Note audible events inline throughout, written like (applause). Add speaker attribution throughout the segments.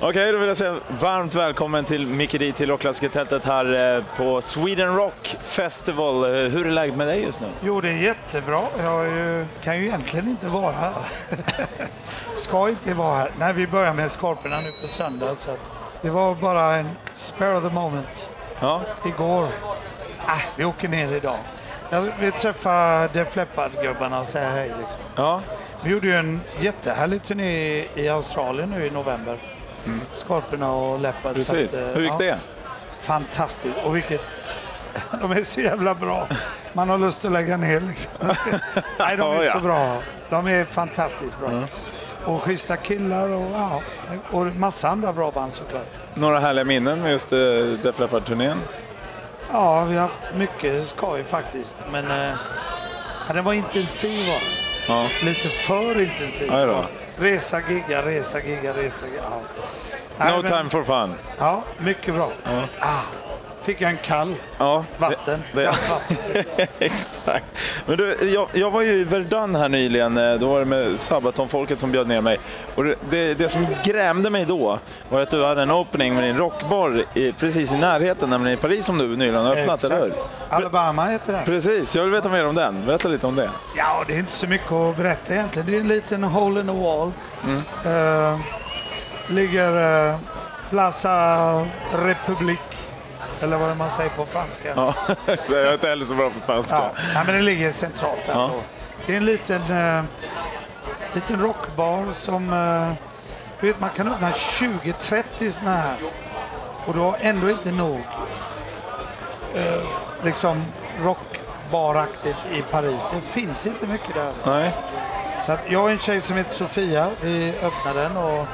Speaker 1: Okej, då vill jag säga varmt välkommen till Micke Di till rockklassikertältet här eh, på Sweden Rock Festival. Eh, Hur är läget med dig just nu?
Speaker 2: Jo, det är jättebra. Jag är ju, kan ju egentligen inte vara här. (laughs) Ska inte vara här. Nej, vi börjar med Skorporna nu på söndag. Så att det var bara en spare of the moment
Speaker 1: Ja,
Speaker 2: igår. Äh, vi åker ner idag. Jag vill träffa Def Leppard-gubbarna och säga hej. Liksom.
Speaker 1: ja.
Speaker 2: Vi gjorde ju en jättehärlig turné i Australien nu i november. Skorporna och Leppard. så
Speaker 1: Mm. precis.
Speaker 2: att, eh,
Speaker 1: Hur gick
Speaker 2: ja.
Speaker 1: det?
Speaker 2: Fantastiskt. Och vilket... De är så jävla bra. Man har lust att lägga ner liksom.
Speaker 1: (laughs)
Speaker 2: Nej,
Speaker 1: Ja,
Speaker 2: de är
Speaker 1: ja. Mm.
Speaker 2: så bra. De är fantastiskt bra. Och schyssta killar och, ja, och massa andra bra band såklart.
Speaker 1: Några härliga minnen med just eh, Def Leppard-turnén?
Speaker 2: Ja, vi har haft mycket skoj faktiskt. Men eh, ja, den var intensiv. va?
Speaker 1: Ja.
Speaker 2: Lite för intensiv.
Speaker 1: Aj då.
Speaker 2: Resa, gigga, resa, gigga, resa, gigga. Ja.
Speaker 1: No
Speaker 2: Nej, men-
Speaker 1: time for fun.
Speaker 2: Ja, mycket bra. Ah, fick jag en kall.
Speaker 1: Ja, det-
Speaker 2: Vatten.
Speaker 1: det-
Speaker 2: Kallt vatten.
Speaker 1: (laughs) Exakt. Men du, jag, jag var ju i Verdun här nyligen, eh, då var det med Sabaton-folket som bjöd ner mig. Och det- det, det som grämde mig då var att du hade en opening med din rockbar i, precis i närheten, nämligen i Paris som du nyligen har öppnat, eller hur?
Speaker 2: Exakt. Alabama heter den.
Speaker 1: Precis, jag vill veta mer om den. Berätta lite om det.
Speaker 2: Ja, det är inte så mycket att berätta egentligen. Det är en liten hole in the wall.
Speaker 1: Mm.
Speaker 2: Eh, ligger eh, Plaza Republic, eller vad det man säger på franska.
Speaker 1: Ja. (laughs) jag är inte heller så bra på svenska.
Speaker 2: Ja, nej, men det ligger centralt där.
Speaker 1: Ja.
Speaker 2: då. Det är en liten, eh, liten rockbar som... Eh, du vet, man kan öppna 20-30 såna här. Och du har ändå inte nog eh, liksom rockbaraktigt i Paris. Det finns inte mycket där.
Speaker 1: Nej.
Speaker 2: Så att jag och en tjej som heter Sofia, vi öppnade den och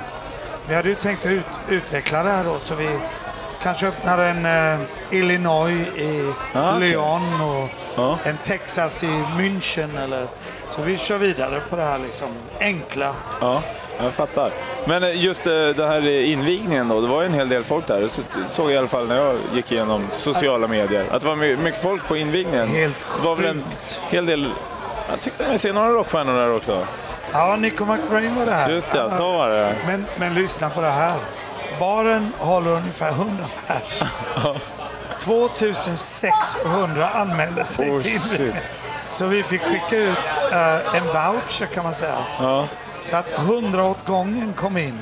Speaker 2: vi hade ju tänkt att ut, utveckla det här då så vi kanske öppnar en eh, Illinois i
Speaker 1: Ah, okej.
Speaker 2: Lyon och
Speaker 1: Ja.
Speaker 2: en Texas i München eller så vi kör vidare på det här liksom enkla.
Speaker 1: ja, jag fattar. Men eh, just eh, den här eh, invigningen då, det var ju en hel del folk där. Det så- såg jag i alla fall när jag gick igenom sociala medier. Att det var my- mycket folk på invigningen.
Speaker 2: Helt
Speaker 1: Det var väl en hel del... Jag tyckte mig se några rockstjärnor där också.
Speaker 2: Ja, Nico McBrain var det här.
Speaker 1: Just det, alltså.
Speaker 2: Ja.
Speaker 1: så var det.
Speaker 2: Men, men lyssna på det här. Baren håller ungefär 100
Speaker 1: (laughs)
Speaker 2: pers. 2600 anmälde sig
Speaker 1: Oh,
Speaker 2: till
Speaker 1: shit.
Speaker 2: Så vi fick skicka ut eh, en voucher kan man säga.
Speaker 1: Ja.
Speaker 2: Så att 100 åt gången kom in.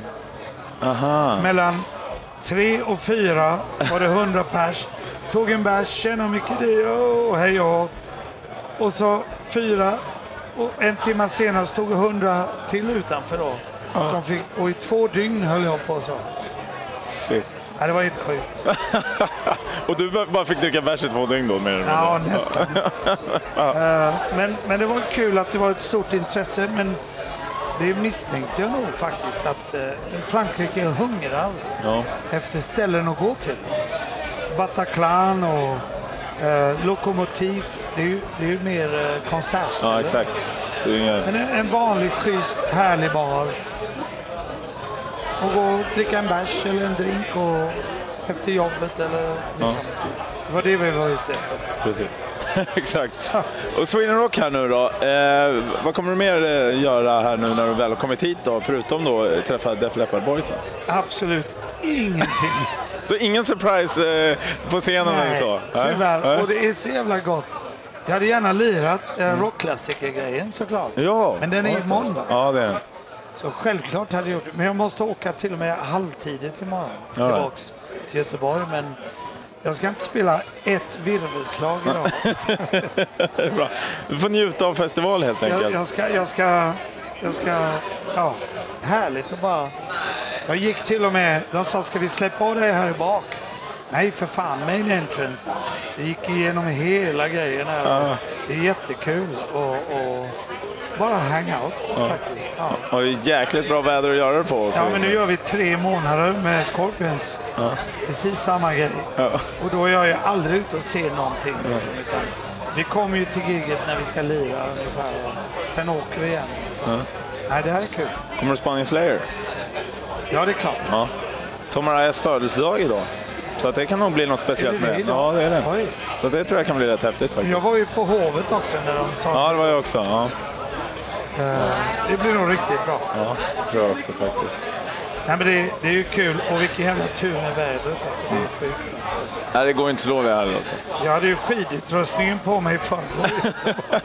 Speaker 1: Aha.
Speaker 2: Mellan 3 och 4 var det 100 pers. Tog en bärs, tjena mycket det och hej och Och så fyra och en timme senare stod 100 till utanför då. Så de fick, och i två dygn höll jag på så.
Speaker 1: Shit. (laughs)
Speaker 2: Ja, det var helt sjukt.
Speaker 1: Och du bara fick dricka bärs i två dygn då? Mer eller mindre.
Speaker 2: Ja,
Speaker 1: (laughs)
Speaker 2: nästan. Eh, men, men det var kul att det var ett stort intresse, men det misstänkte jag nog faktiskt att eh, Frankrike hungrar
Speaker 1: Ja.
Speaker 2: efter ställen att gå till. Bataclan och eh, Lokomotiv, det är ju, det är ju mer eh, konsertställen.
Speaker 1: ja, exakt. Det är inga...
Speaker 2: Men en, en vanlig, schysst, härlig bar. Och gå och dricka en bärs eller en drink och efter jobbet eller liksom. Det var det vi var ute efter.
Speaker 1: Precis. (laughs) Exakt. Och Sweden Rock här nu då. Eh, vad kommer du mer eh, göra här nu när du väl har kommit hit då? Förutom då eh, träffa Def Leppard Boysen.
Speaker 2: Absolut ingenting.
Speaker 1: Så ingen surprise eh, på scenen eller så? Nej,
Speaker 2: tyvärr.
Speaker 1: nej. Mm.
Speaker 2: Och det är så jävla gott. Jag hade gärna lirat eh, rockklassiker-grejen såklart.
Speaker 1: Ja.
Speaker 2: Men den
Speaker 1: Ja,
Speaker 2: är ju
Speaker 1: just det.
Speaker 2: imorgon. va?
Speaker 1: Ja, det är den. (laughs)
Speaker 2: Så självklart hade jag gjort det. Men jag måste åka till och med halvtidigt imorgon tillbaks till Göteborg. Men jag ska inte spela ett virvelslag idag.
Speaker 1: Det är bra. Du får njuta av festival helt
Speaker 2: jag,
Speaker 1: enkelt.
Speaker 2: jag ska... Jag ska, jag ska ja, härligt att bara... Jag gick till och med... De sa, ska vi släppa av dig här bak? Nej, för fan, main entrance. Så Jag gick igenom hela grejen här. Det är jättekul och, och bara hang out faktiskt. Ja.
Speaker 1: Och det är jäkligt bra väder att göra det på också. liksom.
Speaker 2: Ja, men nu gör vi tre månader med Scorpions. Precis samma grej. Och då är jag ju aldrig ute och ser någonting. Liksom, utan vi kommer ju till giget när vi ska lira ungefär. och Sen åker vi igen. Så att, Nej, det här är kul.
Speaker 1: Kommer du Spanien Slayer?
Speaker 2: Ja, det är klart.
Speaker 1: Ja. Tom Arayas födelsedag idag. Så att det kan nog bli något speciellt
Speaker 2: Är det
Speaker 1: med
Speaker 2: det
Speaker 1: det.
Speaker 2: idag?
Speaker 1: Ja, det är det.
Speaker 2: Oj.
Speaker 1: Så det tror jag kan bli rätt häftigt faktiskt.
Speaker 2: Jag var ju på Hovet också när de sa
Speaker 1: Ja, det var jag också. Ja.
Speaker 2: det blir nog riktigt bra.
Speaker 1: Ja, det tror jag också faktiskt.
Speaker 2: Nej, men det, det är ju kul. Och vilken jävla tur med vädret. Alltså, det är sjukt. Alltså.
Speaker 1: Nej, det går inte att slå vid här alltså.
Speaker 2: Jag hade ju skidutrustningen på mig förra året.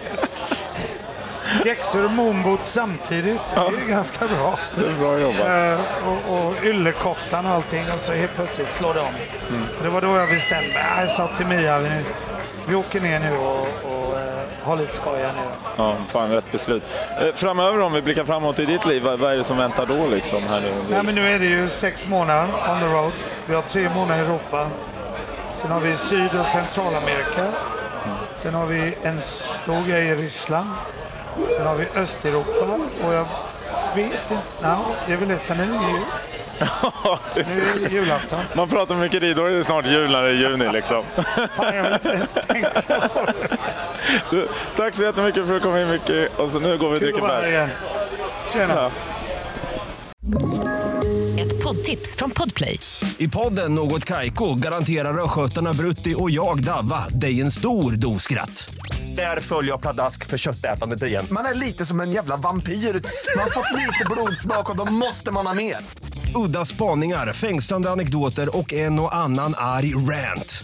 Speaker 2: Pjäxor och moonboots samtidigt. Det är ju ganska bra.
Speaker 1: Det är bra jobbat.
Speaker 2: Eh, och, och yllekoftan och allting och så helt plötsligt slår det om. Och det var då jag bestämde mig. Jag sa till Mia, vi, vi åker ner nu och, och eh, har lite skoj här nu.
Speaker 1: Ja, fan rätt beslut. Eh, Framöver om vi blickar framåt i ditt liv, vad vad är det som väntar då liksom? Här
Speaker 2: Nej,
Speaker 1: nu?
Speaker 2: men nu är det ju sex månader on the road. Vi har tre månader i Europa. Sen har vi Syd och Centralamerika. Sen har vi en stor grej i Ryssland. Sen har vi Östeuropa och jag vet inte. Nej, det är väl det. Sen är det jul. Nu är det julafton.
Speaker 1: Man pratar mycket ridor, det är snart jul när det är juni (laughs) liksom.
Speaker 2: Fan, jag vill inte ens tänka på det.
Speaker 1: Du, Tack så jättemycket för att du kom in Micke. Och så nu går vi och
Speaker 2: Kul att
Speaker 1: dricker
Speaker 2: vara här
Speaker 1: bärs.
Speaker 2: igen. Tjena.
Speaker 1: Ja.
Speaker 3: Ett poddtips från Podplay.
Speaker 4: I podden Något Kaiko garanterar östgötarna Brutti och jag, Davva, dig en stor dos skratt. Där följer jag pladask för köttätandet igen.
Speaker 5: Man är lite som en jävla vampyr. Man har fått lite blodsmak och då måste man ha mer.
Speaker 4: Udda spaningar, fängslande anekdoter och en och annan arg rant.